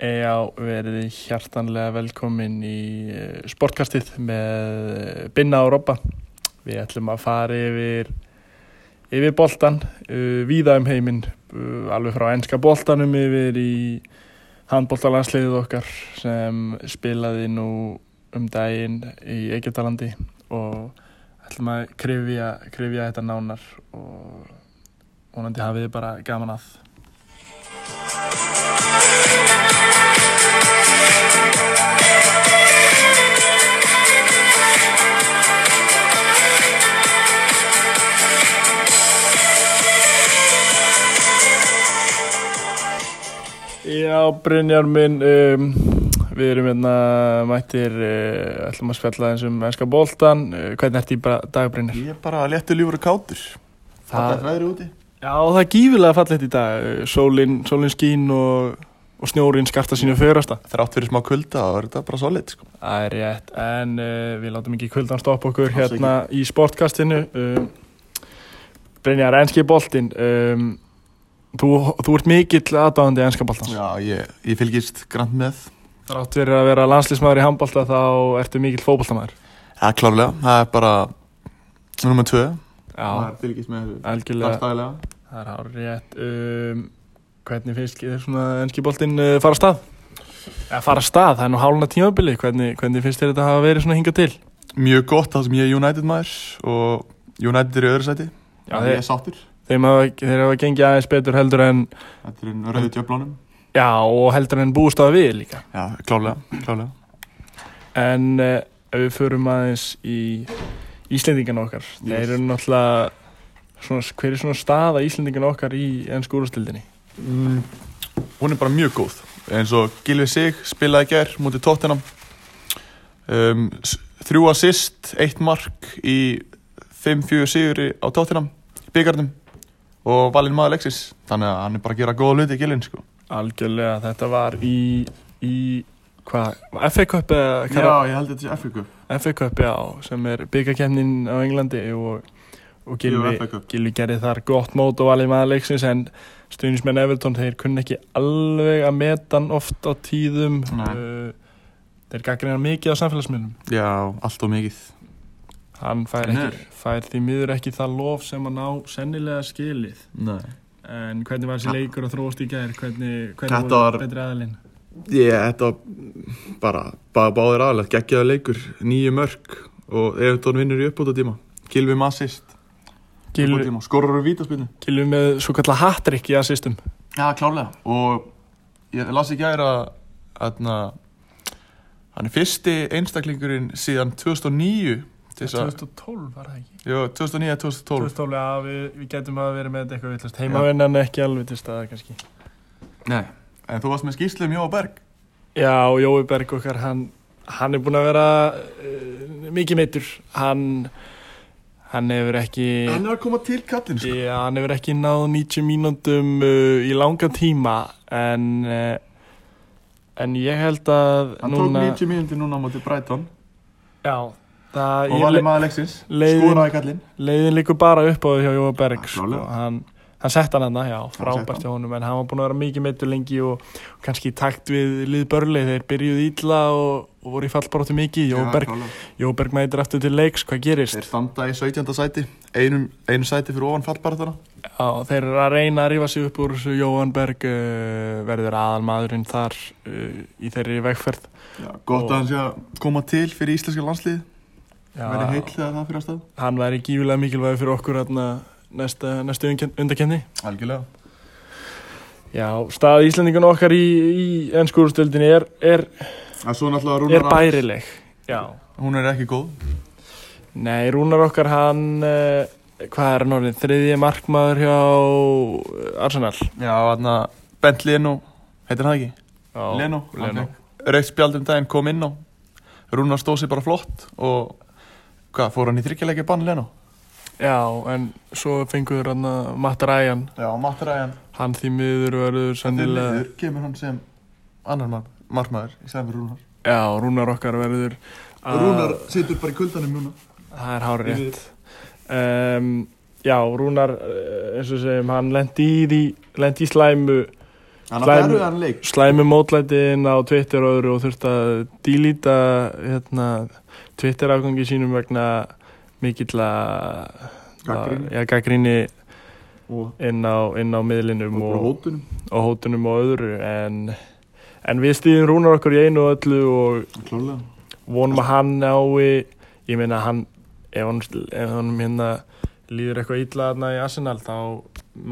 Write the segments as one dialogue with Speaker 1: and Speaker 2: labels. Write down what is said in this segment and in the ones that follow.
Speaker 1: Já, verið hjartanlega velkomin í eh, sportkastið með eh, Binna og Robba. Við ætlum að fara yfir, yfir boltan, uh, víða um heiminn, uh, alveg frá enska boltanum yfir í handboltalandsliðið okkar sem spilaði nú um daginn í Egyptalandi og ætlum að krifja, krifja þetta nánar og vonandi hafið þið bara gaman að. Já, Brynjar minn, um, við erum hérna mættir, uh, ætlum að spjalla eins um ennska boltan, uh, hvernig ert í bara- dag Brynjar?
Speaker 2: Ég er bara léttur lífur og kátur Það er
Speaker 1: Það,
Speaker 2: veðri úti
Speaker 1: já, það er gífilega fallegt í dag, uh, sólin, sólin skín og, og snjórin skarta sínu förasta.
Speaker 2: Þrátt fyrir smá kulda þá er þetta bara solid sko.
Speaker 1: Það er rétt, en uh, við látum ekki kvöldan stoppa okkur
Speaker 2: Alls
Speaker 1: hérna í sportkastinu. Um, Brynjar, ennski boltin, um, þú, þú ert mikill aðdáðandi ennska boltans.
Speaker 2: Já, ég, ég fylgist grann með
Speaker 1: Þrátt fyrir að vera landslísmaður í handbolta þá ertu mikill fótboltamaður.
Speaker 2: Já, klárlega, það er bara Númer 2
Speaker 1: Já,
Speaker 2: fylgist með þessu
Speaker 1: algjörlega.
Speaker 2: daglega
Speaker 1: Það er hár rétt um, Hvernig finnst þér svona ennski boltinn uh, fara af stað? Eða fara af stað, það er nú háluna tímabili hvernig, hvernig finnst þér þetta hafa verið svona hingað til?
Speaker 2: Mjög gott það sem ég er United maður Og United er í öðru sæti
Speaker 1: Já,
Speaker 2: Og
Speaker 1: þeir,
Speaker 2: er sáttur
Speaker 1: þeim hafa, þeir hafa gengið aðeins betur heldur en
Speaker 2: Þetta er einn rauði djöflónum
Speaker 1: Já, og heldur en búist að við líka
Speaker 2: Já, klárlega, klárlega
Speaker 1: En uh, ef við förum aðeins í Íslendingana okkar Þeir eru náttúrulega svona, Hver er svona staða Íslendingana okkar í ennsku úrstildinni?
Speaker 2: mm, Hún er bara mjög góð eins og Gilvi Sig spilaði gær mútið Tottenham um, s- þrjú assist eitt mark í 5-4 sigri á Tottenham í byggarnum og valinn maður Alexis þannig að hann er bara að gera góða hluti í Gilvin sko.
Speaker 1: Algjörlega, þetta var í, í hvað, FA Cup eða hvað-
Speaker 2: ég held þetta sé Afriku
Speaker 1: FA Cup, já, sem er byggakefnin á Englandi og, og Gilvi,
Speaker 2: Cup
Speaker 1: Gilvi gerði þar gott mót og valið maður leiksins en stuðnismenn Everton, þeir kunna ekki alveg að meta hann oft á tíðum
Speaker 2: Nei.
Speaker 1: uh, þeir gaggrinar mikið á samfélagsmiðlum
Speaker 2: Já, allt og mikið
Speaker 1: hann fær,
Speaker 2: Nei.
Speaker 1: ekki, fær því miður ekki það lof sem hann á sennilega skilið
Speaker 2: Nei.
Speaker 1: en hvernig var þessi
Speaker 2: Ja.
Speaker 1: leikur að þróast í gær hvernig,
Speaker 2: Þetta
Speaker 1: hvernig voru
Speaker 2: var-
Speaker 1: betri aðalinn
Speaker 2: Ég, þetta var bara, bara báðir aðlega, geggjaði leikur nýju mörg og Evertón vinnur í uppbúta tíma Gilvi með assist
Speaker 1: Gilvi,
Speaker 2: skorur úr vítaspilni
Speaker 1: Gilvi með svo kallar hattrick í assistum
Speaker 2: Já, klálega Og ég las ekki aðeira Þannig Hann er fyrsti einstaklingurinn síðan 2009 til þess að,
Speaker 1: 2012 var það ekki
Speaker 2: Jú, 2009 2012
Speaker 1: 2012, já, við, við getum að vera með þetta eitthvað villast Heimavinnan er ekki alveg til staðar kannski
Speaker 2: Nei En þú varst með skýrslu um Jóa Berg
Speaker 1: Já, og Jói Berg okkar, hann, hann er búinn að vera uh, mikið meittur Hann, hann hefur ekki
Speaker 2: Hann er að koma til kallinn sko.
Speaker 1: Já, hann hefur ekki náð 90 mínúndum uh, í langa tíma En, uh, en ég held að
Speaker 2: Hann
Speaker 1: núna,
Speaker 2: tók 90 mínúti núna á móti Brighton
Speaker 1: Já, það,
Speaker 2: Og
Speaker 1: ég,
Speaker 2: valið maður Alexis
Speaker 1: leiðin-
Speaker 2: Skoraði kallinn
Speaker 1: leiðin líkur bara upp á því hjá Jóa Berg
Speaker 2: Ja,
Speaker 1: sko.
Speaker 2: klálega.
Speaker 1: hann, hann sett hann hann, já,
Speaker 2: setti hann.
Speaker 1: frábært hjá honum en hann var búin að vera mikið meittur lengi og, og kannski í takt við lið börli þeir byrjuðu ítla og, og voru í fallbaróttu mikið Jóa
Speaker 2: Já,
Speaker 1: Berg,
Speaker 2: klálega.
Speaker 1: Jóa Berg mætir aftur til leiks, hvað gerist?
Speaker 2: Þeir standa í 17. sæti Einum, einu sæti fyrir ofan fallbarðana
Speaker 1: Já, þeir eru að reyna að rífa sig upp úr þessu Jóan Berg uh, verður aðal maðurinn þar uh, í þeirri vegferð
Speaker 2: Já, Gott
Speaker 1: Og-
Speaker 2: að hann sé að koma til fyrir íslenska landslið Verði heill þegar það fyrir að stað
Speaker 1: hann væri gífulega mikilvæg fyrir okkur hérna, næsta, næstu undakenni
Speaker 2: Algjörlega
Speaker 1: Já, stað Íslandingun okkar í, í ennskúrustöldinni er, er
Speaker 2: En svo náttúrulega
Speaker 1: er
Speaker 2: Rúnar Ar-
Speaker 1: bærileg Já
Speaker 2: Hún er ekki góð
Speaker 1: Nei, Rúnar okkar hann uh, hvað er hann orðin, þriðji markmaður hjá eh, Arsenal
Speaker 2: Já, þarna Bent Leno Heitir hann ekki?
Speaker 1: Já,
Speaker 2: Leno
Speaker 1: Leno.
Speaker 2: Raukt spjald um daginn kom inn á Rúnar stóð sér bara flott Og hvað, fór hann í þryggjalegi bann Leno?
Speaker 1: Já, en svo fengur hann að Matt Ryan,
Speaker 2: Já, Matt Ryan
Speaker 1: hann því miður verður
Speaker 2: eh,
Speaker 1: sennilega
Speaker 2: Þegar kemur hann sem annar mar markmaður Í stæðan fyrir Rúnar
Speaker 1: Já, Rúnar okkar verður
Speaker 3: Ah.
Speaker 1: að-
Speaker 2: Rúnar situr bara í kuldanum núna
Speaker 1: Það er hár
Speaker 2: Við-
Speaker 1: rétt um, Já, Rúnar eh, eins og segjum, hann lendi í því lendi í slæmu
Speaker 3: Hann að
Speaker 1: Slæm-
Speaker 3: berðu hann leik
Speaker 1: slæmi mótlætin á Twitter og öðru og þurft að dílíta hérna, Twitter afgangi sínum vegna mikill að
Speaker 3: Gagnrýni.
Speaker 1: ja, gaggrinni
Speaker 3: og
Speaker 1: inn á, inn á miðlinum
Speaker 3: og bara
Speaker 1: og,
Speaker 3: hótunum
Speaker 1: og hótunum og öðru en, en við stýðum rúnar okkur í einu og öllu og
Speaker 3: klálega
Speaker 1: vonum að hann nái ég meina hann ef hann, ef hann hérna líður eitthvað illa þarna í Arsenal þá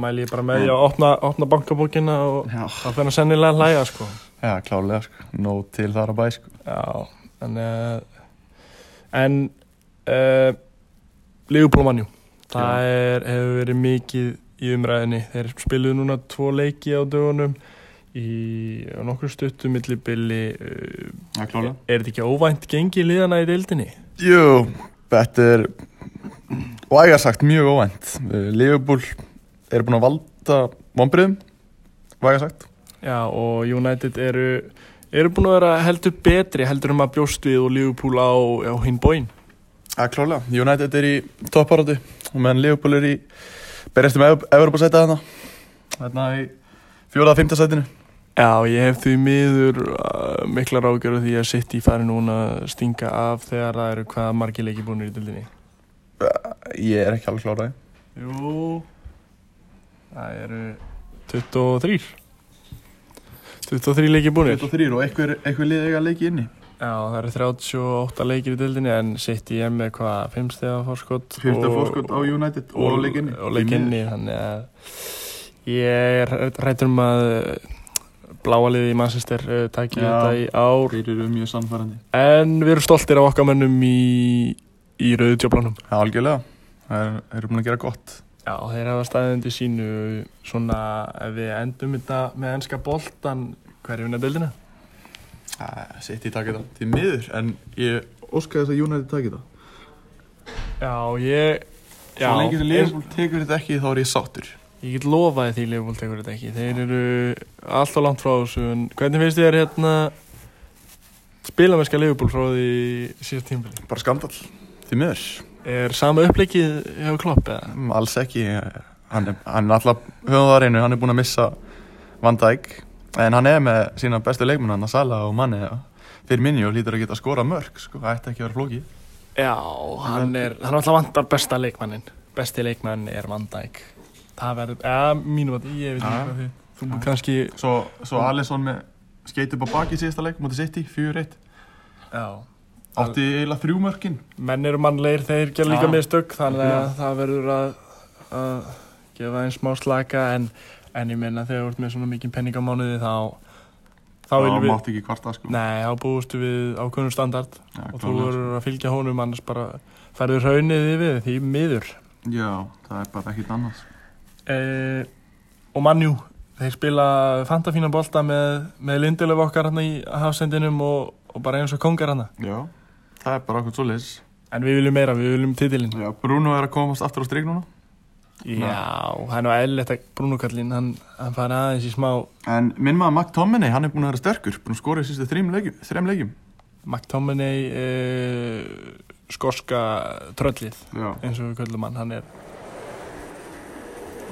Speaker 1: mæli ég bara með því að opna, opna bankabókina og
Speaker 3: Já,
Speaker 1: þá fer hann sennilega að hlæja sko
Speaker 2: Já, klálega, sko. Nó til þar að bæ, sko.
Speaker 1: Já, þannig að en uh, Leifupólumannjú það er, hefur verið mikið í umræðinni, þeir spiluðu núna tvo leiki á dögunum í á nokkru stuttum millibili uh,
Speaker 3: já klálega
Speaker 1: er þetta ekki óvænt gengi liðana í deildinni?
Speaker 2: Jú, þetta er vægasagt mjög óvænt Eh, Liverpool er búin að valda vonbriðum vægasagt
Speaker 1: Já, og United eru eru búin að vera heldur betri heldur um að bjóst við og Leifupól á, á hinn bóin
Speaker 2: Já, klálega, United er í topparóti og meðan Liverpool er í berjast um Evropasæta þarna þarna í fjóraða fymta sætinu
Speaker 1: Já, ég hef því miður uh, miklar ágjörðu því að sitt í fari núna að stinga af þegar það eru hvaða margir leiki búinir í dildinni.
Speaker 2: Ég er ekki alveg kláraði
Speaker 1: Jú, það eru 23. 23 leiki búinir.
Speaker 2: 23 og einhver, einhver lið eiga leiki inni
Speaker 1: Já, það eru 38 leikir í dildinni en sitt í emmi hvað, 5 stegar fórskot.
Speaker 2: Fyrsta fórskot á United og, og leikinni
Speaker 1: Og leikinni, þannig að ég er rættur um að uh, bláa liði í Manchester uh, tækja
Speaker 2: Já.
Speaker 1: þetta í ár.
Speaker 3: Þeir eru mjög samfærandi
Speaker 1: En við erum stoltir af okkar mönnum í, í rauðutjöflanum.
Speaker 2: Já, algjörlega, það er- þeir eru búin að gera gott
Speaker 1: Já, þeir hafa staðið í sínu svona ef við endum þetta með ennska boltan hverju vinna deildina.
Speaker 2: Sitt í takið það Því miður, en ég óska þess að United takið það
Speaker 1: Já, ég... Já,
Speaker 2: Svo lengi sem
Speaker 1: ég,
Speaker 2: Liverpool tekur þetta ekki þá er ég sáttur
Speaker 1: ég get lofaði því Leopold tekur þetta ekki. Þeir eru alltaf langt frá þessu. En hvernig finnst þér hérna spilamennska Leopold frá því síðast tímbili?
Speaker 2: Bara skandal Því miður
Speaker 1: Er sama uppleikið hefur klopp eða?
Speaker 2: Mm, Alls ekki Hann er, hann er alltaf höfum það á reynu Hann er búin að missa Van Dijk En hann er með sína bestu leikmenn Hann að Sala og Manni Fyrir minni og lítur að geta skora mörg sko. Það ætti ekki að vera flóki
Speaker 1: Já, hann er, hann alltaf vantar besta leikmannin Besti leikmann er Van Dijk Það verður, ja, mínum að ég veit
Speaker 2: Já.
Speaker 1: ekki hvað þið Þú ja. kannski,
Speaker 2: Svo, svo Alisson með skeit upp á baki síðasta leik Móti City, 4-1
Speaker 1: já
Speaker 2: Átti eiginlega þrjú mörkin
Speaker 1: Menn eru mannlegir, þeir gera líka
Speaker 2: Já.
Speaker 1: mistök Þannig að það verður að, að gefa þeim smá slaka en, en ég meina þegar þú ert með svona mikið penning á mánuði þá þá viljum við,
Speaker 2: mátti ekki kvarta sko.
Speaker 1: nei, þá búistu við ákveðnum standard
Speaker 2: Já,
Speaker 1: og þú
Speaker 2: klárlega, sko.
Speaker 1: verður að fylgja honum annars bara ferður raunnið yfir því miður
Speaker 2: Já, það er bara ekkit annars
Speaker 1: eh, og mannjú þeir spila fantafína bolta með, með Lindelöf okkar hann í hafsendinum og, og bara eins og kongar hann
Speaker 2: Já, það er bara okkur svo
Speaker 1: en við viljum meira, við viljum titilinn
Speaker 2: Já, Bruno er að komast aftur á strik núna
Speaker 1: já, hann var eðlilegt að Brúnukallin hann, hann fari aðeins í smá
Speaker 2: En minn maður Mac Tomini, hann er búin að vera sterkur Búin að skora í sístu þrem leikjum, þrem leikjum.
Speaker 1: McTominay eh, skorska tröllið
Speaker 2: Já.
Speaker 1: eins og við köllum hann, hann er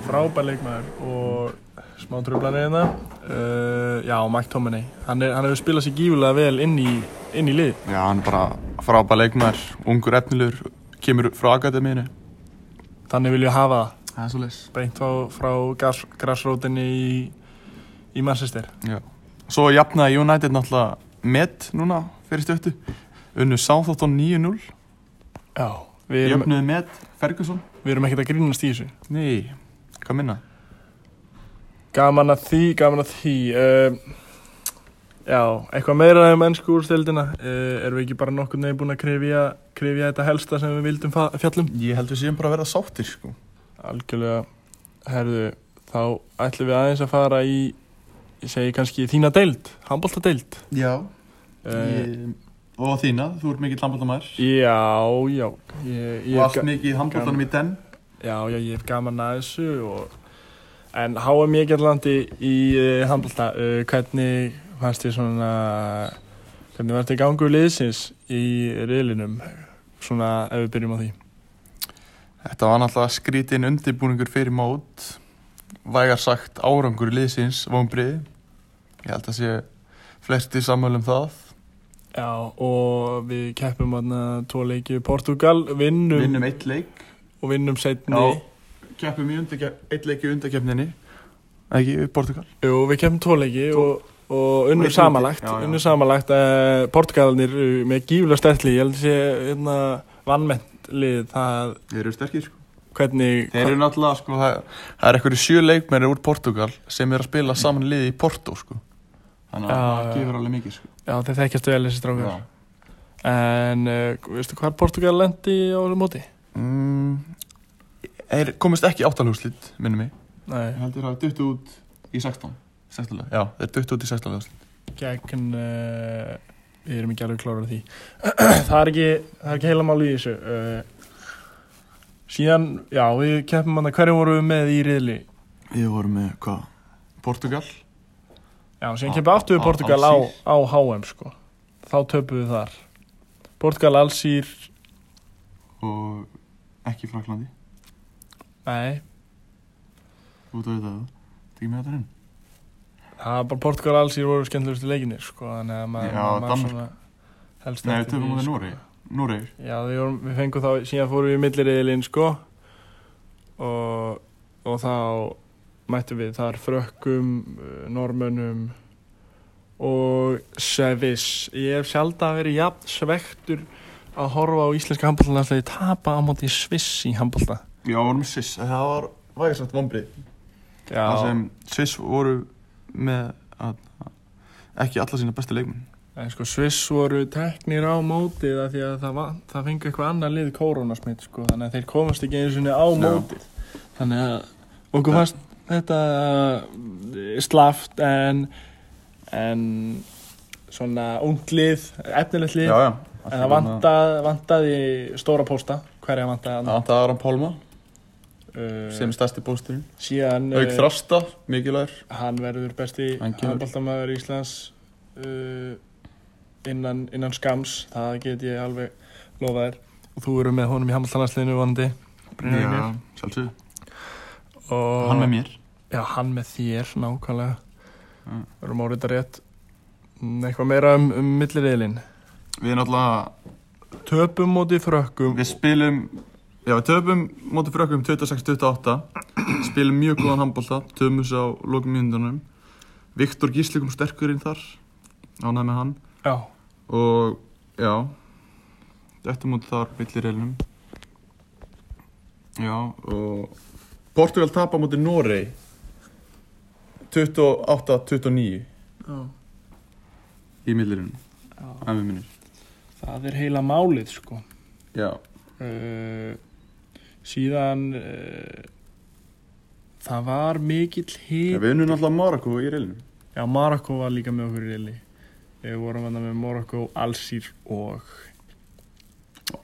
Speaker 1: frábær leikmaður og smá tröflanir hérna uh, já, McTominay hann, er, hann hefur spilað sér gífulega vel inn í, inn í lið
Speaker 2: Já, hann er bara frábæð leikmaður Ungur efnilegur, kemur frá akademiðinu
Speaker 1: Þannig viljum við hafa það
Speaker 2: Það er svo leis
Speaker 1: beint frá, frá gas, grassrótinni í, í Manchester
Speaker 2: Já. Svo jafnaði United náttúrulega met núna fyrir stöttu Unnu Southampton 9-0
Speaker 1: Já Við erum,
Speaker 2: Jöfnuði met Ferguson
Speaker 1: við erum ekkert að grínast í þessu
Speaker 2: Nei, hvað minna?
Speaker 1: Gaman að því, gaman að því uh, Já, eitthvað meira um ennsku úrstildina uh, Erum við ekki bara nokkur nefn búin að krifja, krifja þetta helsta sem við vildum fa- fjallum?
Speaker 2: Ég held við séum bara að vera sáttir sko.
Speaker 1: Algjörlega, herðu, þá ætlum við aðeins að fara í Ég segi kannski þína deild, Eh, handbólta deild
Speaker 2: Já Eh, Og þína, þú ert mikill handbóltamæður
Speaker 1: Já, já ég, ég
Speaker 2: Og allt mikið handbóltanum í den
Speaker 1: Já, já, ég hef gaman að þessu og... En HM ég gett landi í uh, handbólta uh, Hvernig fannst þið svona Hvernig fannst þið gangur liðsins í riðlinum Svona ef við byrjum á því
Speaker 2: Þetta var náttúrulega skrítin undirbúningur fyrir mót, vægar sagt árangur liðsins vonbrið Ég held að sé flesti sammölu um það
Speaker 1: Já, og við keppum þarna tvo leiki við Portugal, vinnum,
Speaker 2: Vinnum eitt leik
Speaker 1: og vinnum setni.
Speaker 2: Já. Keppum í undirkef, eitt leik í undarkeppninni Ekki, í Portugal
Speaker 1: Jú, við keppum tvo leiki
Speaker 2: Tvo-
Speaker 1: og, og
Speaker 2: Og
Speaker 1: unnum
Speaker 2: eitt
Speaker 1: samanlagt,
Speaker 2: leiki, já, já.
Speaker 1: unnum samanlagt að Portugalinir eru með gífla stertli, ég held að sé hérna vannmennt lið það
Speaker 2: Þeir eru sterkir sko
Speaker 1: hvernig,
Speaker 2: Þeir eru náttúrulega sko Það, það er eitthvað sjö leikmennir úr Portugal sem er að spila saman liði í Porto sko Þannig að
Speaker 1: Já,
Speaker 2: það
Speaker 1: já.
Speaker 2: gefur alveg mikið sko
Speaker 1: já þeir þekkjast vel þessi strákar.
Speaker 2: Já.
Speaker 1: En, uh, veistu hvað Portugal lendi á þessu móti?
Speaker 2: Mm, Þeir komist ekki áttalhúslit minnum mig
Speaker 1: Nei,
Speaker 2: Ég held þeir hafa duttu út í 16 16 lög, já, þeir duttu út í 16 lög
Speaker 1: gegn, uh, við erum ekki alveg klárað því. það er ekki, það er ekki heila máli í þessu. Uh, síðan, já, við keppum hann að hverju vorum við með í riðli?
Speaker 2: Við vorum með hvað? Portugal
Speaker 1: Já, síðan
Speaker 2: Á-
Speaker 1: keppum við aftur við
Speaker 2: á-
Speaker 1: Portugal á,
Speaker 2: Alsír.
Speaker 1: á HM, sko. Þá töpum við þar. Portugal, Alsýr,
Speaker 2: og ekki Fraklandi
Speaker 1: nei,
Speaker 2: út af þetta Það ekki með þetta inn
Speaker 1: það var bara Portugal, Alsýr voru skemmtilegustu leikinir, sko. Þannig að maður,
Speaker 2: Já,
Speaker 1: maður
Speaker 2: Danmörk.
Speaker 1: helst
Speaker 2: Nei,
Speaker 1: eftir
Speaker 2: við töfum
Speaker 1: því,
Speaker 2: á það
Speaker 1: sko.
Speaker 2: Núri Núri
Speaker 1: Já, við, vorum, við fengum þá, síðan fórum við í milliriðilinn, sko og, og þá mættum við þar frökkum, eh, normönnum og sevis. Ég hef sjaldan verið jafn svektur að horfa á íslenska handbóltan að þeir tapa á móti sviss í handbólta.
Speaker 2: Já, vorum með Sviss Það var vægisagt vombrið Það
Speaker 1: Já,
Speaker 2: sem Sviss voru með að, ekki alla sína bestu leikmenn
Speaker 1: en sko sviss voru teknir á mótið af því að það, var, það fengi eitthvað annað lið koronasmitt, sko, þannig að þeir komast ekki einu sinni á
Speaker 2: Já.
Speaker 1: mótið. þannig að okkur fannst þetta eh, slaft en en svona unglið, efnilegt lið
Speaker 2: já
Speaker 1: en það vantaði, vantaði stóra pósta hverja vantaði hann
Speaker 2: Það var hann Pálma
Speaker 1: uh,
Speaker 2: sem stærsti bósturinn
Speaker 1: síðan
Speaker 2: Auk
Speaker 1: eh,
Speaker 2: þrasta, mikilvægur
Speaker 1: hann verður besti
Speaker 2: Hann kemur.
Speaker 1: handbóltamæður Íslands uh, innan, innan skams það get ég alveg lofa þér og þú eru með honum í handbóltalansliðinu vonandi Brynjar Vignir.
Speaker 2: sjálfsög
Speaker 1: og
Speaker 2: Hann með mér
Speaker 1: Já, hann með þér, nákvæmlega
Speaker 2: Mm.
Speaker 1: Við erum árið þetta rétt Mm, Eitthvað meira um, um milliriðlin
Speaker 2: Við náttúrulega
Speaker 1: Töpum móti frökkum
Speaker 2: Við spilum Já, við töpum móti frökkum 26-28 Spilum mjög góðan handbólta Töpum þessu á lokum mjöndunum Viktor Gísli kom sterkurinn þar Ánæði með hann
Speaker 1: Já,
Speaker 2: Og já Þetta móti þar millir reilnum Já og Portugal tapa móti Norei 28-29
Speaker 1: Já.
Speaker 2: Í millirinn
Speaker 1: Já.
Speaker 2: Ef við minnir
Speaker 1: það er heila málið sko
Speaker 2: Já
Speaker 1: uh, Síðan uh, Það var mikill
Speaker 2: Við
Speaker 1: hit
Speaker 2: unnum alltaf Marako í reilnum
Speaker 1: Já, Marokko var líka með okkur í riðli Við vorum vanda með Marokko, Alsýr og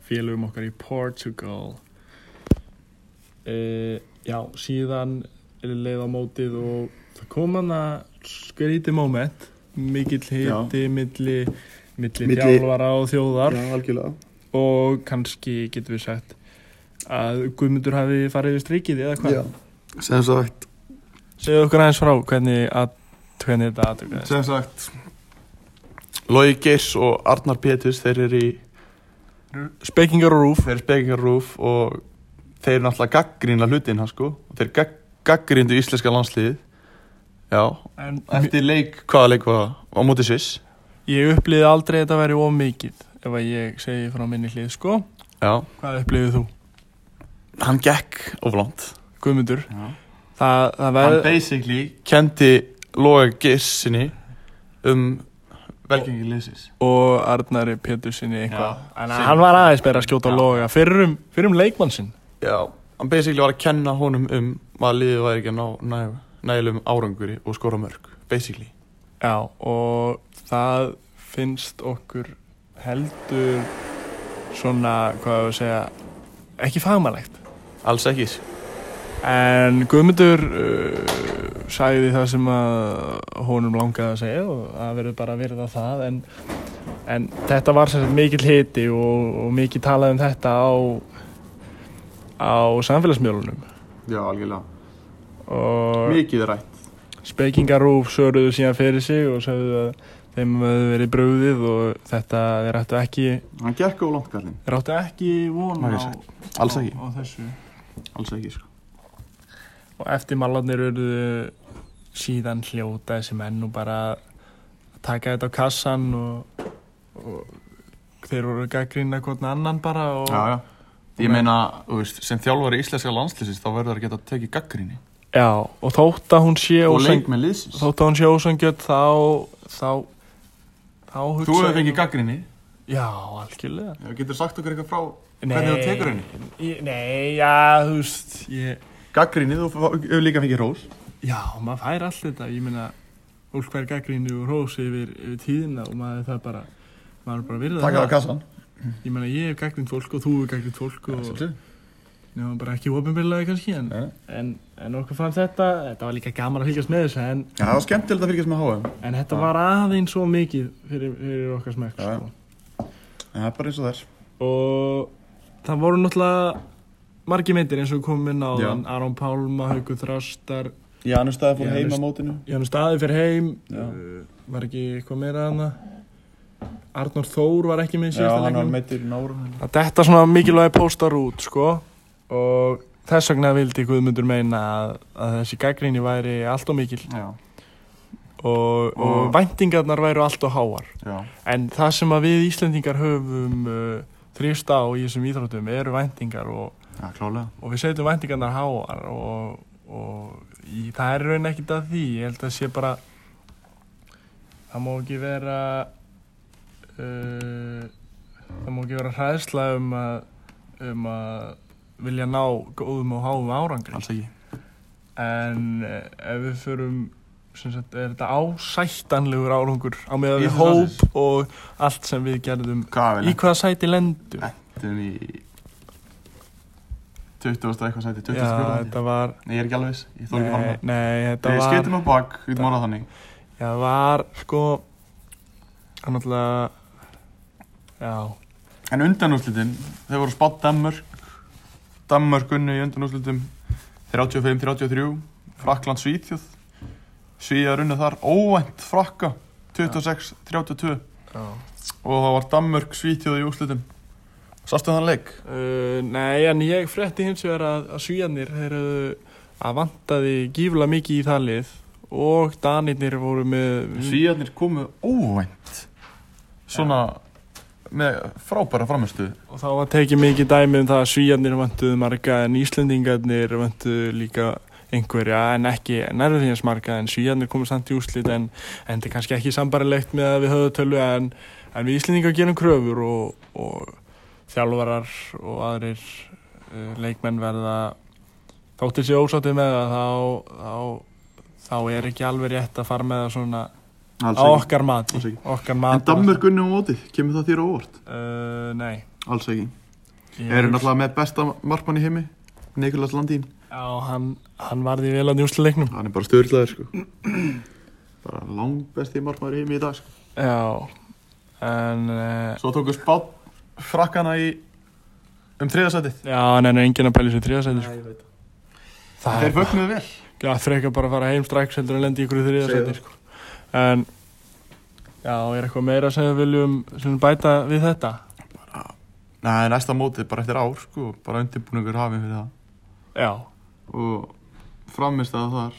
Speaker 1: félögum okkar í Portugal uh, Já, síðan er leið á mótið og það kom hann að skrítið moment mikill hiti, milli, milli
Speaker 2: Milli-
Speaker 1: þjálfara og þjóðar
Speaker 2: algjörlega
Speaker 1: og kannski getum við sagt að Guðmundur hafi farið við strikið eða hvað
Speaker 2: Sem sagt
Speaker 1: Segðu okkur aðeins frá hvernig, að, hvernig þetta aðtökaðist
Speaker 2: Sem sagt Logi Geirs og Arnar Pétus Þeir eru í
Speaker 1: Spekingar og Rúf
Speaker 2: Þeir eru spekingarúf Og þeir eru náttúrulega gaggrínla hlutina sko Og Þeir gag, gaggríndu íslenska landsliðið Já
Speaker 1: en,
Speaker 2: Eftir leik Hvaða leik var það? Á móti Sviss
Speaker 1: Ég upplýði aldrei að þetta væri of mikið ef að ég segi frá minni hlið sko
Speaker 2: Já
Speaker 1: Hvað upplýðið þú?
Speaker 2: Hann gekk oflant
Speaker 1: Guðmundur
Speaker 2: Hann
Speaker 1: Það, það verð
Speaker 2: basically Kendi Logi Geirs sinni Um Velgengi liðsins
Speaker 1: og Arnari Pétur sinni eitthvað
Speaker 2: Já,
Speaker 1: En
Speaker 2: sinn.
Speaker 1: hann var aðeins beira að skjóta
Speaker 2: Já.
Speaker 1: á loga fyrir um, fyrir um leikmann sinn
Speaker 2: Já, hann basically var að kenna honum um að liðið væri ekki að ná næg- nægilegum áranguri og skora mörg, basically.
Speaker 1: Já og það finnst okkur heldur svona, hvað við segja ekki fagmannlegt
Speaker 2: Alls ekki.
Speaker 1: En Guðmundur uh, sagði það sem að honum langaði að segja og það verður bara að verða það en, en þetta var sem sagt mikill hiti og, og mikið talað um þetta á, á samfélagsmjölunum
Speaker 2: Já, algjörlega.
Speaker 1: og
Speaker 2: Mikið rætt.
Speaker 1: spekingarúf söruðu síðan fyrir sig og sagðu að þeim hefði verið brúðið og þetta þeir ættu ekki
Speaker 3: Hann gekk á langt kallinn,
Speaker 1: þeir áttu ekki von á, á,
Speaker 2: Maður alls ekki
Speaker 1: á þessu
Speaker 3: alls ekki sko.
Speaker 1: og eftir malarnir urðu síðan hljóta þessi menn og bara að taka þetta á kassan og, og þeir voru gaggrinna hvort annan bara og
Speaker 2: já, já. Ég meina, þú veist, sem þjálfari íslenska landslýsins þá verður það að geta að tekið gaggrinni
Speaker 1: Já, og þótt að hún sé
Speaker 3: Og
Speaker 1: ósang-
Speaker 3: leik með liðsins
Speaker 1: þótt að hún sé ósangjöld þá þá, þá hugsa
Speaker 2: Þú hefur
Speaker 1: ég
Speaker 2: fengið
Speaker 1: nú-
Speaker 2: gaggrinni
Speaker 1: Já, algjörlega
Speaker 3: Já, Getur sagt okkur eitthvað frá Hvernig þú tekur henni?
Speaker 1: Ég- Nei, já, þú veist ég,
Speaker 2: Gaggrinni, þú hefur líka fengið rós
Speaker 1: Já, maður fær allt þetta Ég meina, fólk fær gaggrinni og rós yfir, yfir tíðina og maður það bara maður bara virða
Speaker 2: Takk að kassan
Speaker 1: Ég meina, ég hef gaggrind fólk og þú hef gaggrind fólk og
Speaker 2: Sjálfsögðu.
Speaker 1: nefnum bara ekki ofinbyrlaði kannski en,
Speaker 2: Nei.
Speaker 1: en, en okkur fannst þetta, þetta var líka gaman að fylgjast með þessu en,
Speaker 2: Já, það var skemmtilegt að fylgjast með HM
Speaker 1: en þetta
Speaker 2: Já.
Speaker 1: var aðeins svo mikið fyrir, fyrir okkar smekk
Speaker 2: Já.
Speaker 1: sko.
Speaker 2: En það er bara eins og þess
Speaker 1: og það voru náttúrulega margi myndir eins og við komum inn á
Speaker 2: Já.
Speaker 1: þann Aron Pálma, Hauku Þrastar
Speaker 2: Í annars staði
Speaker 1: Í
Speaker 2: fór
Speaker 1: annan
Speaker 2: heima
Speaker 1: stað-
Speaker 2: mótinu
Speaker 1: Jánum Staði fyrir heim
Speaker 2: Já.
Speaker 1: uh, var ekki eitthvað meira að hana Arnór Þór var ekki með í
Speaker 2: Já,
Speaker 1: síðasta
Speaker 2: hann var
Speaker 1: leiknum
Speaker 2: meittur í náru
Speaker 1: að detta svona mikilvægi póstar út sko og þess vegna vildi Guðmundur meina að, að þessi gaggrinni væri allt og mikil
Speaker 2: Já,
Speaker 1: og, og
Speaker 2: Og-
Speaker 1: væntingarnar væru allt og háar
Speaker 2: já
Speaker 1: en það sem að við Íslendingar höfum uh, þrýst á í þessum íþróttum eru væntingar og,
Speaker 2: Já, klálega
Speaker 1: og við setjum væntingarnar háar og, og í, það er raun ekkert að því ég held að sé bara það má ekki vera uh, það má ekki vera hræðsla um að um að vilja ná góðum og háum árangri
Speaker 2: Alls ekki
Speaker 1: en eh, ef við förum sem sagt, er þetta ásættanlegur árangur á meðan við
Speaker 2: Íslands
Speaker 1: hóp
Speaker 2: landsins.
Speaker 1: og allt sem við gerðum
Speaker 2: Hvað
Speaker 1: í hvaða sæti lendur
Speaker 2: Nei, Þetta er í 20. eitthvað sæti, 20.
Speaker 1: já, þetta var
Speaker 2: Nei, ég er ekki alveg viss, ég þóri ekki að fara
Speaker 1: nei,
Speaker 2: með
Speaker 1: nei, þetta
Speaker 2: Við
Speaker 1: var
Speaker 2: skeytum á bak, við erum orðað þannig
Speaker 1: já, það var sko hann alltaf já,
Speaker 2: En undanúrslitin, þau voru spátt Danmörk Danmörk unnu í undanúrslitum 35-33 Frakland Svíþjóð Svíðar unnu þar óvænt frakka 26-32
Speaker 1: já.
Speaker 2: og það var Danmörk Svíþjóð í úrslitum Sástu þann leik?
Speaker 1: Uh, nei, en ég frétti hins vegar að, að svíjarnir þeir höfðu að vantaði gífla mikið í það lið og danirnir voru með
Speaker 2: Svíðarnir Mm. komu óvænt Svona með frábæra framistuð
Speaker 1: Og þá var tekið mikið dæmi um það að svíjarnir vantuðu marga en Íslendingarnir vantuðu líka einhverja en ekki nærður hins marga en svíjarnir komur samt í úslit en, en þetta er kannski ekki sambarilegt með að við höfðu tölu en, en við Íslendingar gerum kröfur og, og þjálfarar og aðrir uh, leikmenn verða þóttir sér ósáttið með það þá, þá, þá er ekki alveg rétt að fara með það svona á okkar mati,
Speaker 2: Alls ekki.
Speaker 1: okkar
Speaker 2: En
Speaker 1: mati
Speaker 2: Danmörk unnu á mótið, kemur það þér á óvart?
Speaker 1: Uh, nei
Speaker 2: Alls ekki
Speaker 1: Ég
Speaker 2: Eru
Speaker 1: hugsa-
Speaker 2: náttúrulega með besta markmann í heimi Nikolas Landín
Speaker 1: Já, hann, hann varði vel á njúsleiknum.
Speaker 2: Hann er bara störtlaður sko Bara langbesti markmaður í heimi í dag sko.
Speaker 1: Já, en... Uh,
Speaker 2: Svo tóku spátt frakkana í um þriðasætið
Speaker 1: já, hann er enginn að pæli sér þriðasæti. sko. Það
Speaker 2: Þeir
Speaker 1: er
Speaker 2: fögnuðu vel
Speaker 1: já, frekar bara að fara heim strax heldur en lendi ykkur í
Speaker 2: Segðu
Speaker 1: þriðasæti. Sko. En, já, er eitthvað meira sem við viljum sem við bæta við þetta?
Speaker 2: Nei, næsta mótið bara eftir ár sko Bara undirbúningur hafið fyrir það
Speaker 1: Já,
Speaker 2: Og framist að þar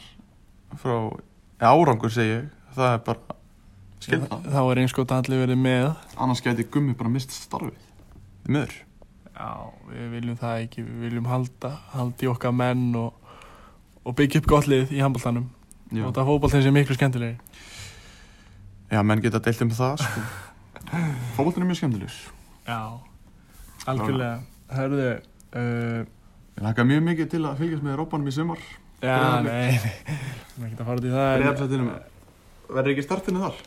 Speaker 2: Frá ja, árangur segi ég Það er bara skilta
Speaker 1: þá er einskóta allir verið með.
Speaker 2: Annars gæti gummi bara mist starfið Þið miður
Speaker 1: Já, við viljum það ekki, við viljum halda, halda í okkar menn og, og byggja upp gott lið í handbóltanum.
Speaker 2: Já.
Speaker 1: Og það fótbóltan sem miklu skemmtilegir.
Speaker 2: Já, menn geta deilt um það sko Fóboltin er mjög skemmtilegur
Speaker 1: Já, algjörlega. Hörðu, uh,
Speaker 2: Ég hlakka mjög mikið til að fylgjast með Rópanum í sumar.
Speaker 1: Já,
Speaker 2: Breiðablik.
Speaker 1: nei, nei, við erum ekki að fara út í það en
Speaker 2: Breiðabsættinum. Verður ekki startinu þar?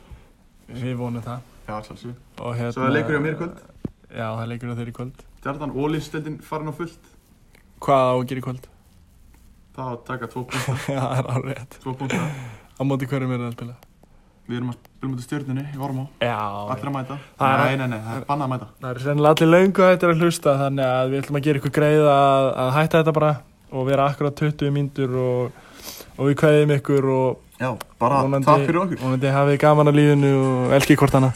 Speaker 1: við vonum það
Speaker 2: Já, sjálfsög.
Speaker 1: og hérna,
Speaker 2: Svo er leikur hjá mér í kvöld.
Speaker 1: Já, það er leikur hjá þeir í kvöld
Speaker 2: Djartan Ólífsdeldin Hérna, farin á fullt.
Speaker 1: Hvað á að gera í kvöld?
Speaker 2: Það á að taka tvo punkta.
Speaker 1: Já, það er árétt
Speaker 2: tvo punkta.
Speaker 1: Á móti hverjum er það að spila?
Speaker 2: Við erum að spila mútið stjórnunni í Varmá.
Speaker 1: Já,
Speaker 2: Allir að mæta.
Speaker 1: Það er-
Speaker 2: Nei, nei, nei, það er bannað að mæta.
Speaker 1: það er sennilega allir löngu hættir að hlusta þannig að við ætlum að gera ykkur greið að, að hætta þetta bara og vera akkurat 20 mínútur og, og við kveðum ykkur og,
Speaker 3: Já, bara
Speaker 1: Vonandi-
Speaker 3: takk fyrir okkur
Speaker 1: Vonandi hafið þið gaman að lífinu og elki hvort hana